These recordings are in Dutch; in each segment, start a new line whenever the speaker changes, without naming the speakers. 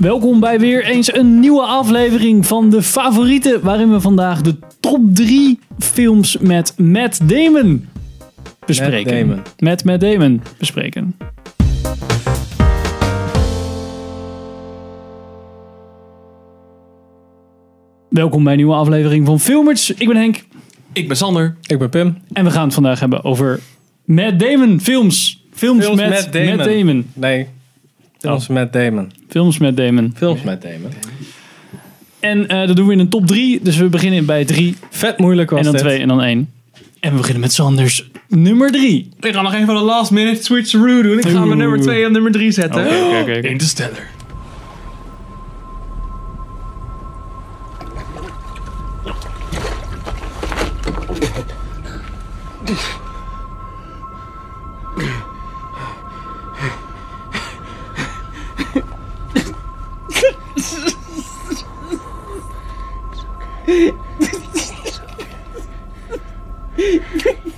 Welkom bij weer eens een nieuwe aflevering van de favorieten, waarin we vandaag de top 3 films met Matt Damon bespreken.
Damon.
Met Matt Damon bespreken. Welkom bij een nieuwe aflevering van Filmers. Ik ben Henk
Ik ben Sander.
Ik ben Pim.
en we gaan het vandaag hebben over Matt Damon films. Films,
Films
met,
met Damon.
Matt Damon.
Nee. Films met Damon.
Oh. Films met Damon.
Films met Damon.
En eh, dat doen we in een top 3. Dus we beginnen bij 3
Vet moeilijk was
En dan
dit.
twee en dan één. En we beginnen met Sanders nummer drie.
Ik ga nog even een last minute switcheroo doen. Ik ga
Oeh.
mijn nummer 2 en nummer 3 zetten.
oké, oké, oké.
Interstellar.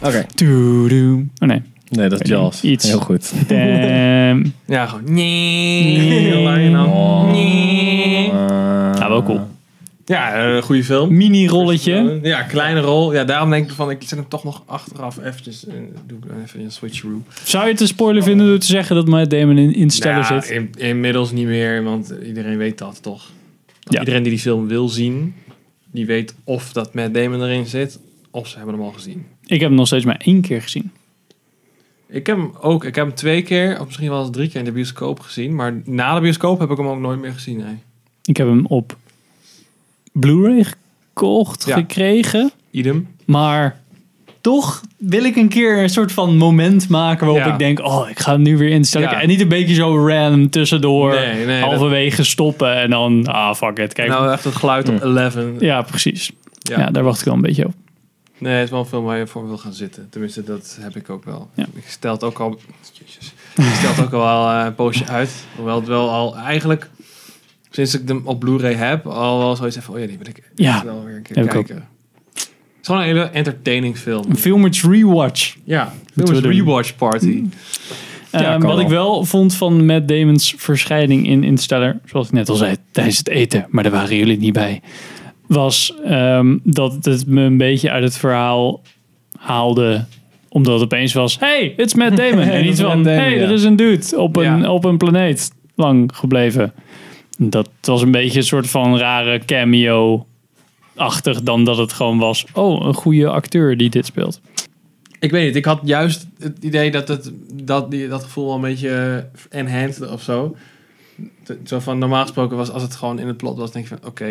Oké.
Toedoem. Oh nee.
Nee, dat is Jaws.
Iets.
Heel goed.
Damn.
Ja, gewoon. Nee. Oh. Heel lang en dan- Nee.
Eh,
Ja, Nou, wel cool.
Ja, eh goede film.
Mini-rolletje.
Ja, kleine rol. Ja, daarom denk ik van, ik zet hem toch nog achteraf eventjes. eh, doe ik dan even een switcheroo.
Zou je het een spoiler vinden door te zeggen dat Matt Damon in, in Stellar
Nou,
zit?
in- inmiddels niet meer, want iedereen weet dat toch.
Ja.
Iedereen die die film wil zien, die weet of dat Matt Damon erin zit, of ze hebben hem al gezien.
Ik heb hem nog steeds maar één keer gezien.
Ik heb hem ook. Ik heb hem twee keer, of misschien wel eens drie keer in de bioscoop gezien. Maar na de bioscoop heb ik hem ook nooit meer gezien. Nee.
Ik heb hem op Blu-ray gekocht,
Ja.
gekregen.
Idem.
Maar toch wil ik een keer een soort van moment maken waarop
Ja.
ik denk... Oh, ik ga hem nu weer instellen.
Ja.
En niet een beetje zo random tussendoor.
Nee, nee,
Oh.
dat-
halverwege stoppen en dan... Ah, fuck it. Kijk,
Nou, echt het geluid
Mm.
op 11. Ja.
Ja, precies. Ja. daar wacht ik wel een beetje op.
Nee, het is wel een film waar je voor wil gaan zitten. Tenminste, dat heb ik ook wel.
Ja.
Ik stel het ook al... Jezus. Ik stel het ook al wel eh, een poosje uit. Hoewel het wel al eigenlijk... Sinds ik hem op Blu-ray heb, al wel zoiets even... Oh ja, die wil ik
Ja,
wel weer een keer
heb ik ook.
kijken. Het is gewoon een hele entertaining film.
Een filmers rewatch.
Ja,
Moeten
film
we
is
doen.
Rewatch Party.
Ja,
Ehm,
kan
wat
wel.
ik wel vond van Matt Damon's verschijning in Interstellar, zoals ik net al zei, tijdens het eten, maar daar waren jullie niet bij, was ehm, dat het me een beetje uit het verhaal haalde omdat het opeens was, hey, it's Matt Damon. en
dat
iets
is
van,
Matt Damon,
hey,
ja.
er is een dude op een,
Ja.
op een planeet lang gebleven. Dat was een beetje een soort van rare cameo-achtig dan dat het gewoon was, oh, een goede acteur die dit speelt.
Ik weet niet, ik had juist het idee dat het, dat, die, dat gevoel wel een beetje eh, enhanced of zo. T- Zo van normaal gesproken was als het gewoon in het plot was, denk je van oké,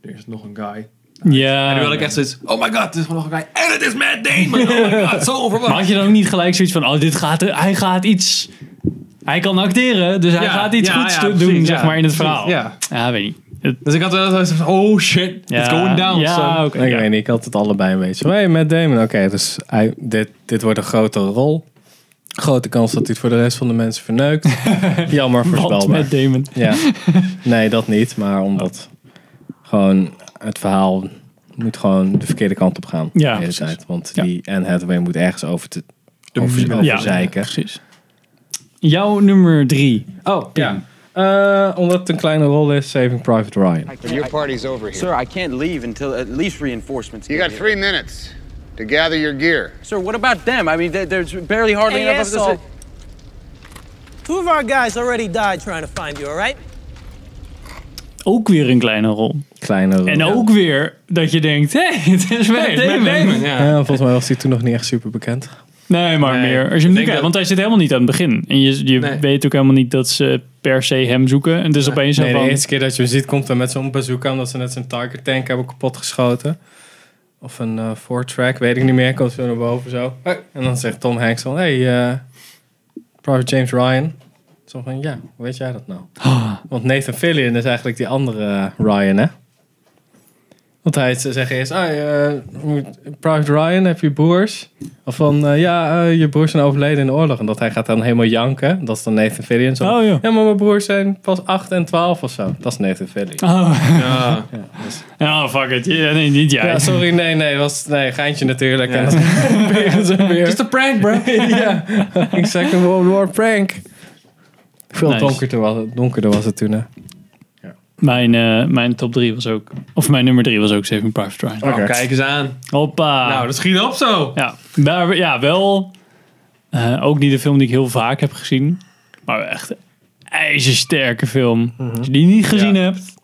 er is nog een guy.
Ja.
En dan wil ik echt zoiets, oh my god, er is gewoon nog een guy. En het is Matt Damon, oh my god, zo
Maar
onverwacht.
had je dan ook niet gelijk zoiets van, oh, dit gaat, hij gaat iets... Hij kan acteren, dus hij
Ja,
gaat iets
ja,
goeds
ja,
doen,
precies,
zeg
ja,
maar, in het
precies,
verhaal.
ja.
weet niet. Het,
Dus ik had wel zoiets van, oh shit,
ja,
it's going down.
Ja,
son.
oké.
Ik
ja.
weet niet, ik had het allebei een beetje. Maar hey, Matt Damon, oké, dus hij, dit, dit wordt een grote rol. Grote kans dat hij het voor de rest van de mensen verneukt. Jammer,
Want
voorspelbaar.
met Damon.
Ja. Nee, dat niet, maar omdat gewoon het verhaal moet gewoon de verkeerde kant op gaan.
Ja,
de hele
precies.
tijd. Want
Ja.
die Anne Hathaway moet ergens over te
De
over,
muur.
over
Ja,
zeiken.
precies. Jouw nummer drie.
Oh, ja. Eh, omdat het een kleine rol is, Saving Private Ryan.
Your party's over here.
Sir, I can't leave until at least reinforcements.
You
get
got
here.
three minutes to gather your gear.
Sir, what about them? I mean, there- there's barely hardly
Hey,
enough
asshole.
of this.
Two of our guys already died trying to find you, all right?
Ook weer een kleine rol.
Kleine rol.
En ook weer dat je denkt, hé, hey, het is Matt
Nee,
Damon.
Matt Damon, ja.
Ja, Eh, volgens mij was hij toen nog niet echt super bekend.
Nee, maar
Nee,
meer. Als
ik
je hem nu
denk
kijkt,
dat-
want hij zit helemaal niet aan het begin. En je, je
Nee.
weet ook helemaal niet dat ze per se hem zoeken. En dus opeens zo
Nee, de
van...
eerste keer dat je hem ziet, komt hij met zo'n bazooka omdat ze net zijn target tank hebben kapotgeschoten. Of een eh four-track, weet ik niet meer. Komt zo naar boven zo. Hey. En dan zegt Tom Hanks van, hey, eh, Private James Ryan. Zo van, ja, hoe weet jij dat nou? Want Nathan Fillion is eigenlijk die andere eh, Ryan, hè? Want hij ze zeggen eerst, ah, eh, Private Ryan, heb je broers? Of van, eh, ja, eh, je broers zijn overleden in de oorlog. En dat hij gaat dan helemaal janken. Dat is dan Nathan Fillion. Zo,
Oh, ja.
maar mijn broers zijn pas 8 en 12 of zo. Dat is Nathan Fillion.
Oh,
Ja.
oh, fuck it. Ja, nee, niet jij.
Ja, sorry, nee, nee, was, nee, geintje natuurlijk.
Ja.
En dan proberen ze hem weer.
Just a prank, bro.
ja, ik zeg een World War prank. Veel
Nice.
donkerder, was het, donkerder was het toen, hè.
Mijn, eh, mijn top 3 was ook, of mijn nummer 3 was ook Saving Private Ryan.
Nou, kijk eens aan.
Hoppa.
Nou, dat schiet op zo.
Ja, maar ja, wel. eh, ook niet de film die ik heel vaak heb gezien. Maar wel echt een ijzersterke film. Als je die niet gezien
Mhm. Ja.
hebt,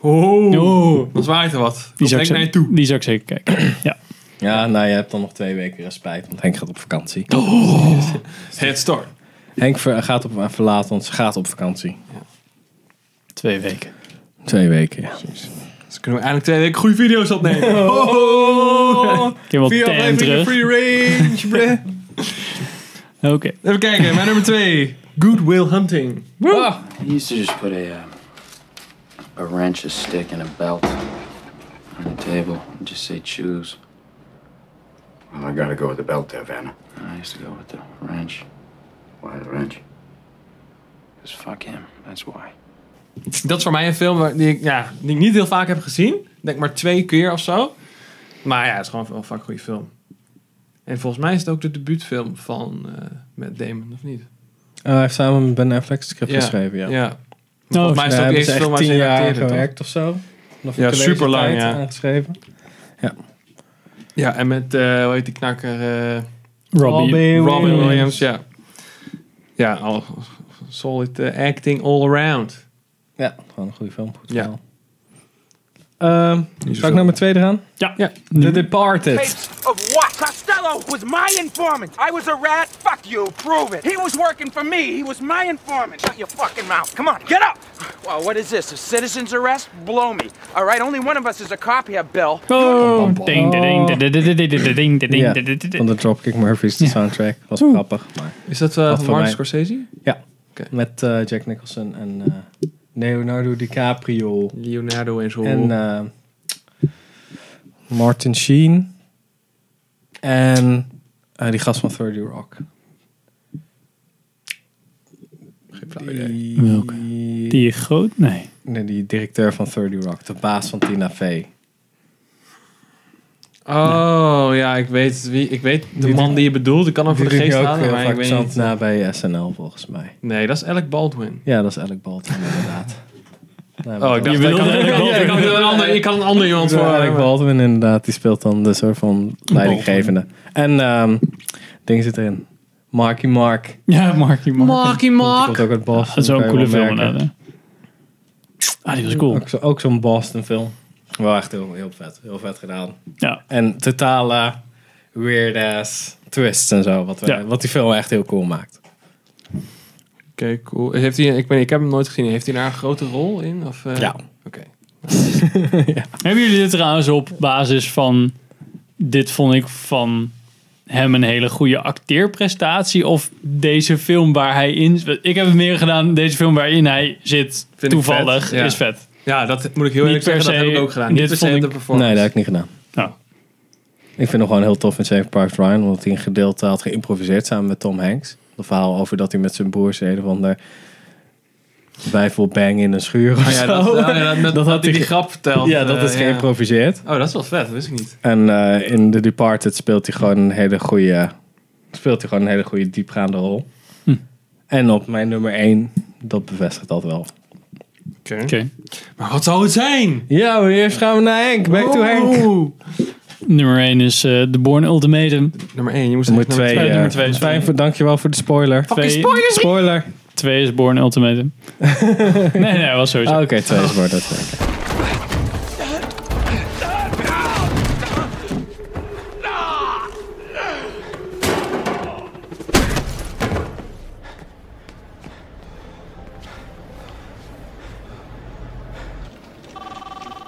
Oh,
Oeh.
dat waait er wat.
die
Die
zou, ik
ik naar je toe.
zeker, die zou ik zeker kijken. Ja.
Ja, nou, je hebt dan nog twee weken respijt, want Henk gaat op vakantie.
Oh. Head start.
Henk ver- gaat op, verlaat ons, gaat op vakantie.
Twee weken.
Twee weken, ja.
Dus kunnen we eindelijk twee weken goede video's opnemen.
Oh.
Ik heb wel
Vier
ten
afleveringen
terug.
free range, bruh.
Oké.
Even kijken, mijn nummer twee. Good Will Hunting. Ah,
I used to just put a uh, a wrench, a stick, and a belt on the table and just say choose.
Well, I gotta go with the belt there, Vanna.
I used to go with the wrench.
Why the wrench?
Because fuck him. That's why.
Dat is voor mij een film waar- die ik, ja, die ik niet heel vaak heb gezien. Ik Denk maar twee keer of zo. Maar ja, het is gewoon wel een fucking goede film. En volgens mij is het ook de debuutfilm van eh met Damon, of niet?
Eh, hij heeft samen met Ben Affleck het script geschreven, ja.
ja.
Nou,
Volgens mij is het ook de
hebben
eerste
ze
film
echt
waar
tien
ze
jaar
acteerden, toch?
gewerkt of zo. Nog
Ja,
een
superlang,
collegetijd
ja.
aangeschreven.
Ja, en met, eh, hoe heet die knakker? eh,
Robbie.
Robin Williams. ja. Ja, al solid eh, acting all around.
Ja, gewoon een goede film. Goed
Ja.
verhaal. Ehm, Zal ik naar mijn tweede gaan?
Ja.
Ja.
The Departed.
Of what? Costello was my informant. I was a rat. Fuck you. Prove it. He was working for me. He was my informant. Shut your fucking mouth. Come on, get up. Well, what is this? A citizen's arrest? Blow me. All right, only one of us is a cop here, Bill.
Oh. Ding, ding, ding, ding, ding, ding, ding, ding, ding,
Ja,
ding, ding,
van
ding.
de Dropkick Murphys, de soundtrack. Was grappig. Maar.
Is dat eh, van
voor
Martin
mij.
Scorsese?
Ja,
Oké.
met eh, Jack Nicholson en eh, Leonardo DiCaprio.
Leonardo en zo.
En eh, Martin Sheen. En eh, die gast van 30 Rock.
Geen flauw idee.
Die,
Welke? Die groot? Nee.
nee, die directeur van 30 Rock. De baas van Tina Fey.
Oh, ja, ik weet, wie, ik weet de
Die-
man die je bedoelt. Ik kan hem
Die
voor de
doet nu
geest
ook
halen,
heel
maar ik
vaak
weet
zand
niet.
na bij SNL volgens mij.
Nee, dat is Alec Baldwin.
Ja, dat is Alec Baldwin inderdaad. Nou,
Oh, ik Oh, dacht,
Je
ik
wilde
kan,
Alec Baldwin.
ja, ik kan een ander, ik kan een ander iemand
voor
voor
Alec Baldwin inderdaad. Die speelt dan de soort van leidinggevende. En ehm ding zit erin. Marky Mark. Die
Ja, Marky Mark.
Marky
komt
Mark.
ook uit Boston.
Dat is wel een
kan je
coole
wel
film.
merken.
inderdaad. Ah, die was cool.
Ook, zo- ook zo'n Boston film. Wel echt heel, heel vet. Heel vet gedaan.
Ja.
En totale weird ass twists en zo. Wat, we-
Ja.
wat die film echt heel cool maakt.
Oké, cool. Heeft hij, ik, ben, ik heb hem nooit gezien. Heeft hij daar een grote rol in? Of, eh?
Ja.
Oké.
Hebben jullie dit trouwens op basis van... Dit vond ik van hem een hele goede acteerprestatie? Of deze film waar hij in... Ik heb het meer gedaan. Deze film waarin hij zit
vet,
toevallig
ja.
is vet.
Ja, dat moet ik heel
Niet per
eerlijk zeggen. Dat
se-
heb ik ook gedaan.
dit
Niet per se
vond
de
ik-
performance.
Nee, dat heb ik niet gedaan.
Nou,
Ik vind hem gewoon heel tof in Saving Private Ryan. Omdat hij een gedeelte had geïmproviseerd samen met Tom Hanks. Het verhaal over dat hij met zijn broers een of ander wijfelbang in een schuur of
Ah, ja, dat,
zo.
ah, ja, dat, dat, had hij die grap verteld.
Ja, dat
eh,
is geïmproviseerd.
Oh, dat is wel vet. Dat wist ik niet.
En eh, in The Departed speelt hij gewoon een hele goede, speelt hij gewoon een hele goede diepgaande rol. En op mijn nummer 1, dat bevestigt dat wel.
Oké.
oké.
Maar wat zou het zijn?
Ja, maar eerst gaan we naar Henk. Back to Henk.
Oeh.
Nummer 1 is eh The Born Ultimatum.
Nummer 1. Je moest
Nummer
echt nummer
2.
twee, nummer twee, sorry.
fijn voor, dankjewel voor de spoiler.
Twee,
Spoiler.
2 is Born Ultimatum. nee, nee, was sowieso.
Ah, Oké, 2 is voor dat Henk.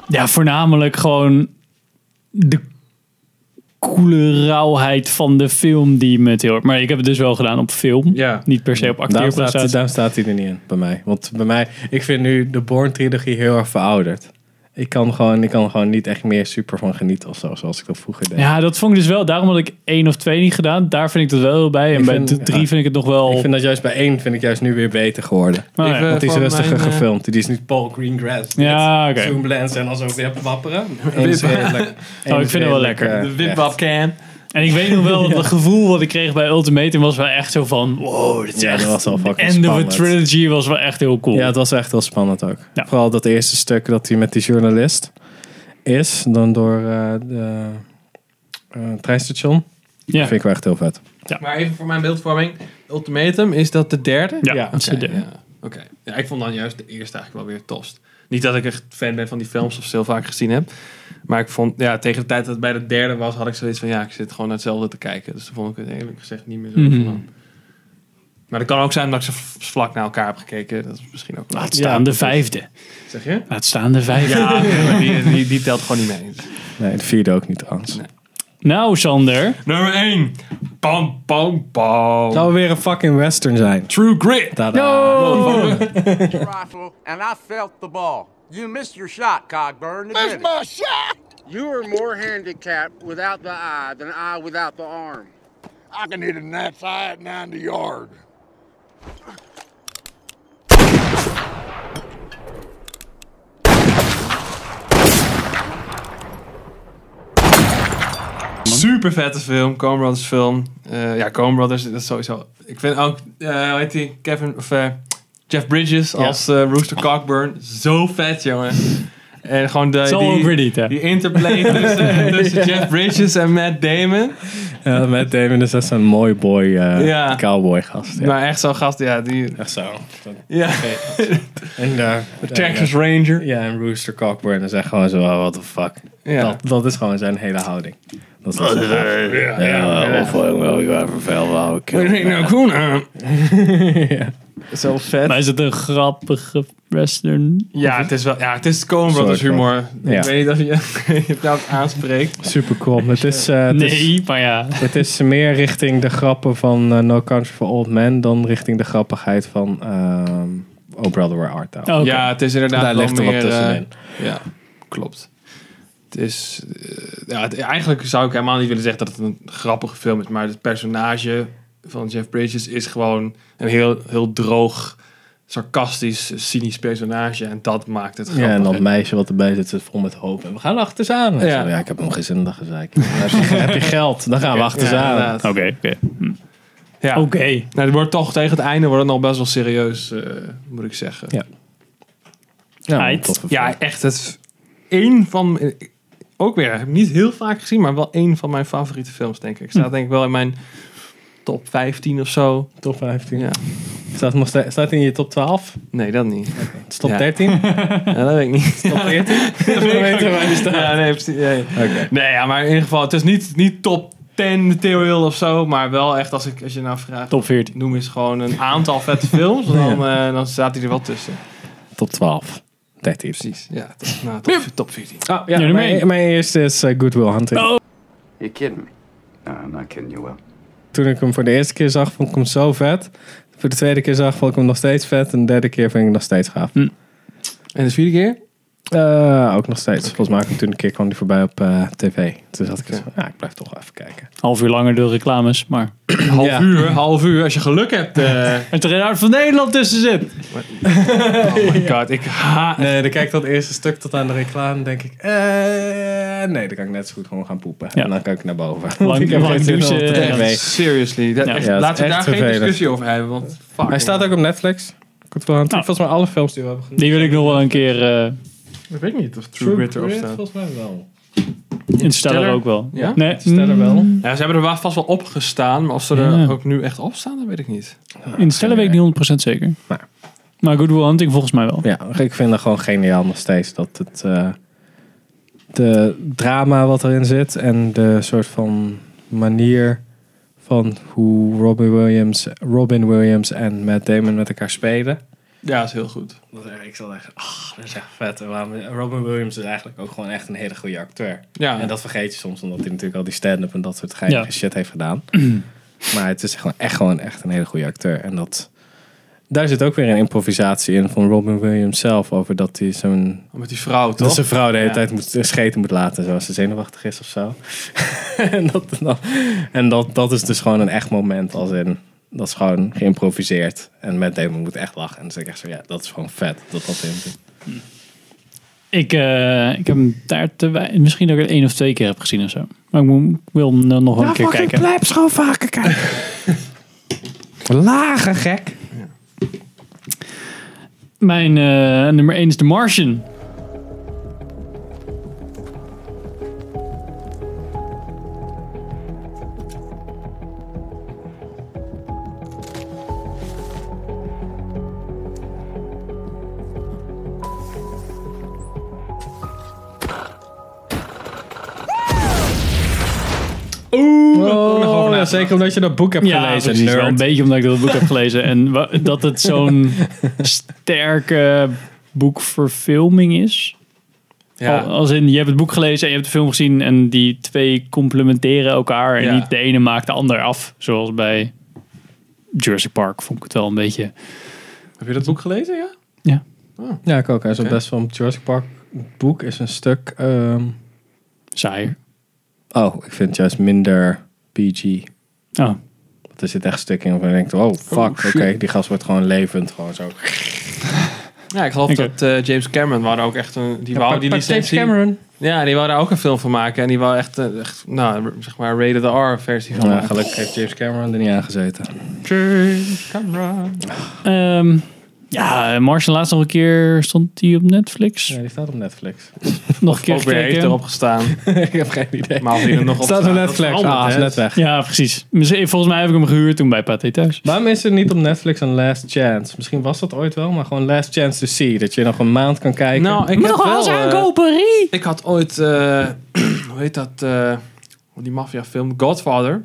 Ja, voornamelijk gewoon de coole rauwheid van de film die me het heel erg- Maar ik heb het dus wel gedaan op film.
Ja.
Niet per se op
Daarom staat, hij-
acteerprestatie.
daarom staat hij er niet in bij mij. Want bij mij, ik vind nu de Born trilogie heel erg verouderd. Ik kan gewoon, ik kan gewoon niet echt meer super van genieten of zo, zoals ik dat vroeger deed.
Ja, dat vond ik dus wel. Daarom had ik één of twee niet gedaan. Daar vind ik dat wel heel bij. En
Ik
bij
vind-
de drie
ja.
vind ik het nog wel...
Ik vind dat juist bij één vind ik juist nu weer beter geworden.
Maar
Even-
ja.
Want die is
voor
rustiger
mijn, eh,
gefilmd. Die is niet Paul Greengrass.
Ja, oké. Oh,
Zoomlens en als ook weer wapperen.
Wip.
Eens redelijk-
vind het wel
eens
lekker.
redelijk, eh,
De wipwap can.
En ik weet nog wel, het gevoel wat ik kreeg bij Ultimatum was wel echt zo van... Wow, dit is
Ja, dat
echt...
was wel fucking
End of a
spannend.
Trilogy was wel echt heel cool.
Ja, het was echt wel spannend ook.
Ja.
Vooral dat eerste stuk dat hij met die journalist is, dan door eh de eh, treinstation.
ja.
Vind ik wel echt heel vet.
Maar even voor mijn beeldvorming. Ultimatum, is dat de derde?
Ja,
Ja,
dat is de
Oké,
derde.
ja. Oké. Ja, ik vond dan juist de eerste eigenlijk wel weer tost. Niet dat ik echt fan ben van die films of ze heel vaak gezien heb. Maar ik vond, ja, tegen de tijd dat het bij de derde was, had ik zoiets van, ja, ik zit gewoon naar hetzelfde te kijken. Dus toen vond ik het eerlijk gezegd niet meer zo
Mhm.
van. Maar dat kan ook zijn dat ik ze v- vlak naar elkaar heb gekeken. Dat is misschien ook wel.
Laat staan de vijfde.
Zeg je?
Laat staan de vijfde.
Ja, Ah, nee, maar die, die, die telt gewoon niet mee.
Nee, de vierde ook niet trouwens.
Nou, Sander.
Nummer 1. Bam, bam, bam.
Zou weer een fucking western zijn.
True Grit.
Rifle, and I felt the ball. You missed your shot, Cogburn.
That's my shot!
You are more handicapped without the eye than I without the arm.
I can hit a gnat's eye at 90 yard.
Super vette film, Coen Brothers film. Eh, ja, Coen Brothers, dat is sowieso. Ik vind ook, eh hoe heet die? Kevin of eh, Jeff Bridges als eh, Rooster Cockburn. Zo vet, jongen. En gewoon de,
Zal ook weer
die,
niet, hè?
die interplay tussen, tussen Jeff Bridges en Matt Damon.
Ja, met Damon is echt zo'n mooi boy, eh,
Ja.
cowboy gast. Ja.
Maar echt zo'n gast, ja, die.
Echt zo. Dat-
Ja,
En eh,
Texas
ja.
Ranger.
Ja, en Rooster Cockburn is echt gewoon zo, oh, what the fuck.
Ja.
Dat, dat is gewoon zijn hele houding. Dat is wat ze Ja, Of eh, wel, ik ben vervelend, wou ik.
Ik denk, nou, Coen, eh,
Zo vet.
Maar is het een grappige western?
Ja, het is wel. Ja, het is Coen
Soort
Brothers
van.
humor.
Ja.
Ik weet niet of je, je het nou aanspreekt.
Super cool. Het is, eh, het, is,
Nee, maar ja.
het is meer richting de grappen van eh, No Country for Old Men dan richting de grappigheid van ehm Oh Brother Where Art Thou.
Oké.
Ja, het is inderdaad
Daar
wel
ligt er wat
meer, eh,
tussenin.
Ja, klopt. Het is, eh, ja, het- eigenlijk zou ik helemaal niet willen zeggen dat het een grappige film is, maar het personage van Jeff Bridges is gewoon een heel, heel droog, sarcastisch, cynisch personage en dat maakt het grappig.
Ja, en dat meisje wat erbij zit, zit vol met hoop. En we gaan achter ze aan. En
Ja.
zo, ja, ik heb hem geen zin in dat gezeik. heb, je, heb je geld? Dan gaan we achter ze
Ja,
aan. Nou,
inderdaad.
Oké, oké.
Ja.
Oké.
Nou, het wordt toch tegen het einde wordt het nog best wel serieus, eh, moet ik zeggen.
Ja. Ja,
Heid.
toffe film.
Ja, echt. Het één van. eh, Ook weer, heb ik niet heel vaak gezien, maar wel één van mijn favoriete films, denk ik.
Hm.
Staat denk ik wel in mijn top 15 of zo.
Top 15.
Ja.
Staat, nog steeds- staat in je top 12?
Nee, dat niet.
Het is top
Ja.
13?
Ja, dat weet ik niet.
Top 14?
Dat
weten wij niet.
Ja, nee, precies. Nee.
Oké.
nee, ja, maar in ieder geval, het is niet, niet top 10 material of zo, maar wel echt als, ik, als je nou vraagt.
Top 14.
Noem eens gewoon een aantal vette films, dan, eh, dan staat hij er wel tussen.
Top 12. 13.
Precies. Ja, top, nou, top, top 14.
Oh, ja,
Nummer één.
mijn, mijn eerste is eh, Good Will Hunting.
Oh.
You kidding me?
No, I'm not kidding you, Will.
Toen ik hem voor de eerste keer zag, vond ik hem zo vet. Voor de tweede keer zag, vond ik hem nog steeds vet. En de derde keer vind ik hem nog steeds gaaf.
En de vierde keer?
Eh, ook nog steeds. Volgens mij kwam toen een keer kwam die voorbij op eh, tv. Toen zat ik zo van, ja, ik blijf toch wel even kijken.
Half uur langer door reclames, maar...
Half
Ja.
uur, half uur. Als je geluk hebt. eh,
Er er een hart van Nederland tussen zit.
Oh my god, ik haat...
Nee, dan kijk ik dat eerste stuk tot aan de reclame denk ik... eh, nee, dan kan ik net zo goed gewoon gaan poepen.
Ja.
En dan kan ik naar boven.
Lang-
ik heb
lang
geen zin om op de
douchen,
tv.
nee.
Seriously, dat-
Ja.
echt,
Ja, dat
laten we
is
daar
echt
geen
vervelend.
discussie over hebben, want fuck.
Hij staat ook op Netflix. Goed voor hand.
Nou.
Volgens mij alle films die we hebben genoemd.
Die wil ik nog wel een keer eh
Ik weet niet of True Grit erop
Grit,
staat.
Volgens mij wel.
in Stellar ook wel.
Ja?
Nee, mm,
Stellar wel.
Ja, ze hebben er wel vast wel op gestaan, maar of ze
Ja.
er ook nu echt op staan, dat weet ik niet.
in Stellar weet ik niet 100% zeker.
Maar-
Maar Good Will Hunting volgens mij wel.
Ja, ik vind het gewoon geniaal nog steeds. Dat het... eh, de drama wat erin zit. En de soort van manier van hoe Robin Williams, Robin Williams en Matt Damon met elkaar spelen.
Ja, is heel goed.
Dat is echt- ik zal echt, ah, dat is echt vet. En waarom- Robin Williams is eigenlijk ook gewoon echt een hele goede acteur.
Ja.
En dat vergeet je soms, omdat hij natuurlijk al die stand-up en dat soort geinige
Ja.
shit heeft gedaan. maar het is gewoon echt, gewoon echt een hele goede acteur. En dat, daar zit ook weer een improvisatie in van Robin Williams zelf over dat hij zo'n
Met die vrouw,
dat
toch?
zijn vrouw de hele
Ja.
tijd moet, scheten moet laten, zoals ze zenuwachtig is of zo. en dat, dat- en dat, dat is dus gewoon een echt moment, als in, dat is gewoon geïmproviseerd. En met Damon moet echt lachen. En dan zeg ik echt zo, ja, dat is gewoon vet dat dat in zit.
Ik, eh, ik heb hem daar te wei- Misschien dat ik het één of twee keer heb gezien of zo. Maar ik moet- ik wil hem dan nog wel een keer kijken.
plebs gewoon vaker kijken. Lage gek.
Mijn eh, nummer 1 is The Martian.
Oh, ja, zeker omdat je dat boek hebt
Ja,
gelezen,
precies. Wel een
nerd.
beetje omdat ik dat boek heb gelezen. En wa- dat het zo'n sterke boekverfilming is.
Ja.
Al- Als in, je hebt het boek gelezen en je hebt de film gezien. En die twee complementeren elkaar. En
Ja.
niet de ene maakt de ander af. Zoals bij Jurassic Park vond ik het wel een beetje...
Heb je dat boek gelezen, ja?
Ja.
ja, ik ook. Hij is al best wel een Jurassic Park boek is een stuk... ehm,
Saaier.
oh, ik vind het juist minder PG.
Oh,
Want er zit echt stuk in waarvan je denkt, oh fuck, oké, die gast wordt gewoon levend. Gewoon zo.
Ja, ik geloof
Oké.
dat eh, James Cameron waren ook echt een... Die wou die licentie...
Cameron.
Ja, die wou daar ook een film van maken. En die wou echt, eh, echt nou, r- zeg maar, rated R versie van
Ja,
maken.
gelukkig heeft James Cameron er niet aan gezeten.
Ehm, ja, Martian laatst nog een keer stond die op Netflix.
Ja, die staat op Netflix.
nog een keer
Ook weer heeft
gekeken.
erop gestaan.
ik heb geen idee.
Maar of hij er nog op
staat op Netflix.
verandert,
Ah, is
hè?
net weg.
Ja, precies. Misschien- Volgens mij heb ik hem gehuurd toen bij Pathé thuis.
Waarom is er niet op Netflix een last chance? Misschien was dat ooit wel, maar gewoon last chance to see. Dat je nog een maand kan kijken.
Nou, ik
Moet
heb
nog
wel,
alles
eh,
aankopen, Rie!
Ik had ooit, eh, hoe heet dat, eh, die maffiafilm, Godfather.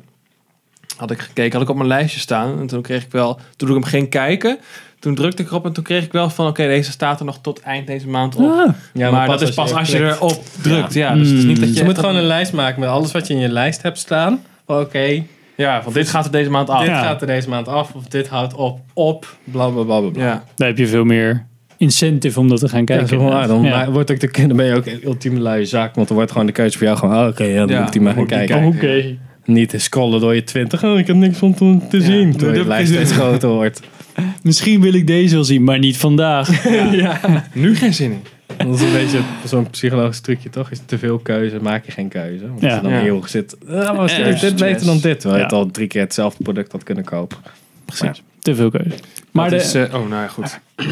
Had ik gekeken, had ik op mijn lijstje staan. En toen kreeg ik wel, toen ik hem ging kijken, toen drukte ik erop en toen kreeg ik wel van, oké, deze staat er nog tot eind deze maand op.
Ah.
ja,
maar dat is pas als je,
klikt.
erop drukt. Ja, dus het is niet dat je...
Dus je
echt
moet
dat-
gewoon een lijst maken met alles wat je in je lijst hebt staan. Van, Oké,
Ja, want dit gaat er deze maand af.
dit
Ja.
gaat er deze maand af of dit houdt op, op, bla bla bla bla. bla.
Ja.
Daar heb je veel meer incentive om dat te gaan kijken.
Ja, zeg maar, dan,
Ja.
Wordt ook de, dan ben je ook een ultieme luie zak, want dan wordt gewoon de keuze voor jou gewoon, oh, oké, ja, dan
Ja,
moet ik die maar gaan
moet ik die
kijken.
Oh, Oké.
Niet scrollen door je twintig, oh, ik heb niks van te, te zien, terwijl je
dat
lijst
is het.
steeds groter wordt.
Misschien wil ik deze wel zien, maar niet vandaag.
Nu geen zin in.
Dat is een beetje zo'n psychologisch trucje, toch? Is te veel keuze, maak je geen keuze. Want als
Ja.
je dan
Ja.
heel zit, ah, was
Ja,
dit
stress.
beter dan dit? Terwijl je het
Ja.
al drie keer hetzelfde product had kunnen kopen. Precies.
Te veel keuze. Maar
Maar
de,
is, eh, oh, nou ja, goed. eh,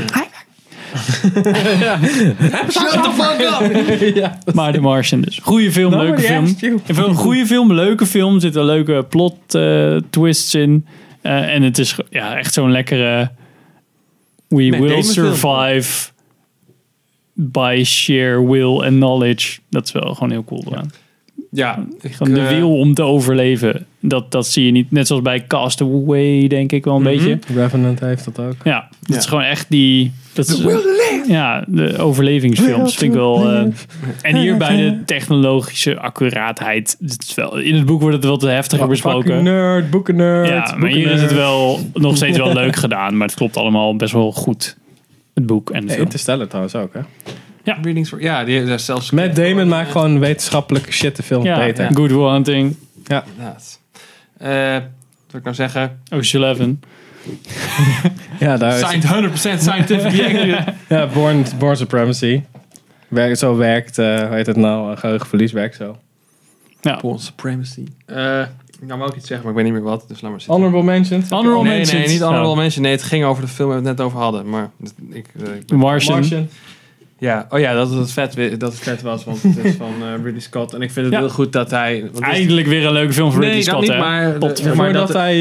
Maar The Martian dus. Goede film,
Nou,
leuke film. Ik vind het een goede film, leuke film. Er zitten leuke plot eh, twists in. Eh, en het is ge- ja, echt zo'n lekkere... We will
Damon film.
survive by sheer will and knowledge. Dat is wel gewoon heel cool eraan.
Ja, ik,
Van de
eh,
wil om te overleven. Dat, dat zie je niet. Net zoals bij Castaway denk ik wel
Mhm.
een beetje.
Revenant heeft dat ook.
Ja, dat
Ja.
is gewoon echt die... Dat is, ja, de overlevingsfilms vind ik wel... eh, en hier bij de technologische accuraatheid. Het is wel, in het boek wordt het wel te heftiger
Fucking
besproken.
nerd, eh. boekennerd.
Ja, maar hier is het wel nog steeds wel leuk gedaan. Maar het klopt allemaal best wel goed. Het boek en de film.
Interstellar trouwens ook, hè?
Readings for, ja, die daar is zelfs...
Matt Damon maakt gewoon wetenschappelijke shit de film
Ja,
beter.
Good Will Hunting,
Inderdaad. Eh, wat wil ik nou zeggen?
Ocean's Eleven.
Ja, daar is
Science, 100% scientific accurate.
ja, Born, Born Supremacy. Werkt, zo werkt, eh, hoe heet het nou, eh, geheugenverlies werkt zo.
Born Supremacy. Eh, ik wou ook iets zeggen, maar ik weet niet meer wat. Dus laat maar zitten.
Honorable mentions.
Honorable
nee,
Mentions.
nee, niet honorable
Oh,
mention. Nee, het ging over de film waar we het net over hadden. Maar dat- ik, eh, ik ben-
The Martian.
Martian.
ja, oh ja, dat het vet, wi- dat het vet was, want het is van eh, Ridley Scott. En ik vind het
Ja.
heel goed dat hij... want dit-
Eindelijk weer een leuke film voor
nee,
Ridley Scott.
dat niet,
hè?
maar,
Pot.
de- maar
Voordat
dat,
hij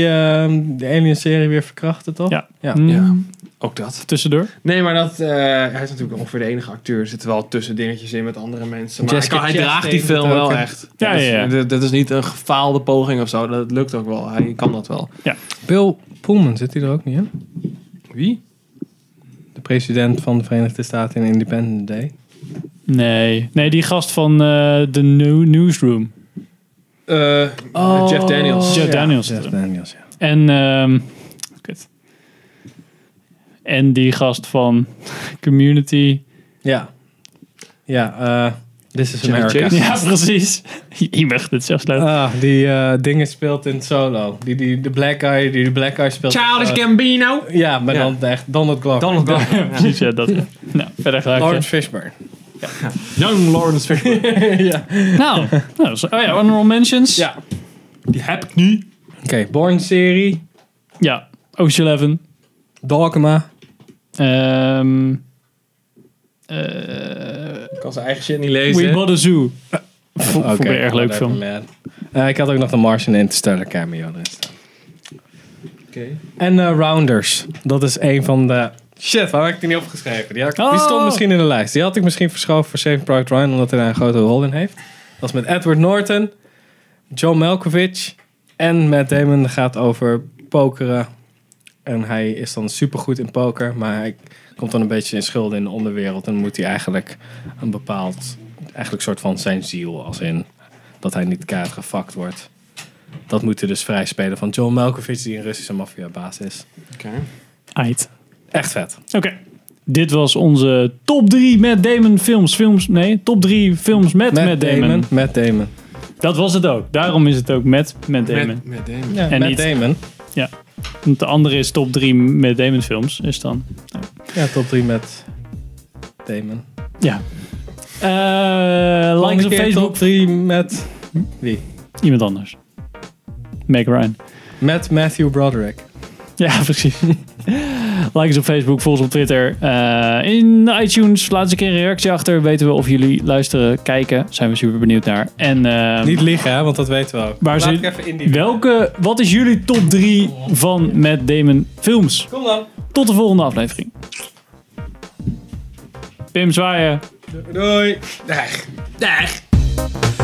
ehm, de Alien-serie weer verkrachtte, toch?
Ja.
ja.
Mm,
ja, ook dat.
Tussendoor.
Nee, maar dat, eh, hij is natuurlijk ongeveer de enige acteur. Er zitten wel tussen dingetjes in met andere mensen. Maar
Jessica
hij, kan- hij draagt die
Chastain
film
doet ook
wel
een-
echt.
Ja,
dat, is,
ja, ja.
dat- dat is niet een gefaalde poging of zo. Dat lukt ook wel. Hij kan dat wel.
Bill Pullman, zit hij er ook niet in?
Wie?
De president van de Verenigde Staten in Independent Day.
Nee. Nee, die gast van eh The New Newsroom.
Eh,
Oh.
Jeff Daniels.
Jeff Daniels.
Jeff Daniels, ja.
En, ehm, kut. en die gast van Community.
Ja, ja eh, This is
Chevy
America.
Chase?
Ja, precies. Je mag dit zelf sluiten.
Ah, die eh dingen speelt in Solo. Die, die, de black guy, die de black guy speelt. in
Childish
Solo.
Gambino.
Ja, maar
Ja.
dan echt Donald Glover.
Donald Glover.
precies, ja, dat. Nou, verder ga ik.
Lawrence Fishburne.
Young Lawrence Fishburne.
Nou, nou zo- oh ja, honorable mentions.
Ja.
Die heb ik nu.
Oké, Born-serie.
ja. Ocean Eleven.
Dogma.
Ehm,
Ik kan zijn eigen shit niet
We
lezen.
Bought a Zoo. Vond ik een erg leuk film.
man. Eh, ik had ook nog de Martian Interstellar cameo dus. erin staan. En eh, Rounders. Dat is een van de... Shit, waar heb ik die niet opgeschreven? Die, had ik- die
Oh.
stond misschien in de lijst. Die had ik misschien verschoven voor Saving Private Ryan, omdat hij daar een grote rol in heeft. Dat is met Edward Norton, John Malkovich en Matt Damon. Dat gaat over pokeren. En hij is dan supergoed in poker, maar hij komt dan een beetje in schulden in de onderwereld. En moet hij eigenlijk een bepaald, eigenlijk soort van zijn ziel, als in dat hij niet kaart gefakt wordt. Dat moet hij dus vrij spelen van John Malkovich, die een Russische maffiabaas is.
Ait.
Echt vet.
Oké. Dit was onze top 3 Matt Damon films. films nee, top 3 films met Matt, Damon.
Matt Damon.
Dat was het ook. Daarom is het ook met Matt Damon.
Met, met Damon.
Ja,
En
Matt
niet-
Damon.
Want de andere is top 3 Matt Damon films. Is dan.
Ja, top 3 met Damon.
Ja. Eh like
Volgende
us op
keer
Facebook.
Top 3 met wie?
Iemand anders. Meg Ryan.
Met Matthew Broderick.
Ja, precies. like ons op Facebook, volg ons op Twitter. Eh, in iTunes, laat eens een keer een reactie achter. Weten we of jullie luisteren, kijken. Zijn we super benieuwd naar. En ehm,
Niet liegen, hè, want dat weten we ook.
Waar
Laat
zit-
ik even in die...
welke, wat is jullie top 3 van Matt Damon films?
Kom dan.
Tot de volgende aflevering. Pim zwaaien.
Doei. Dag. Dag.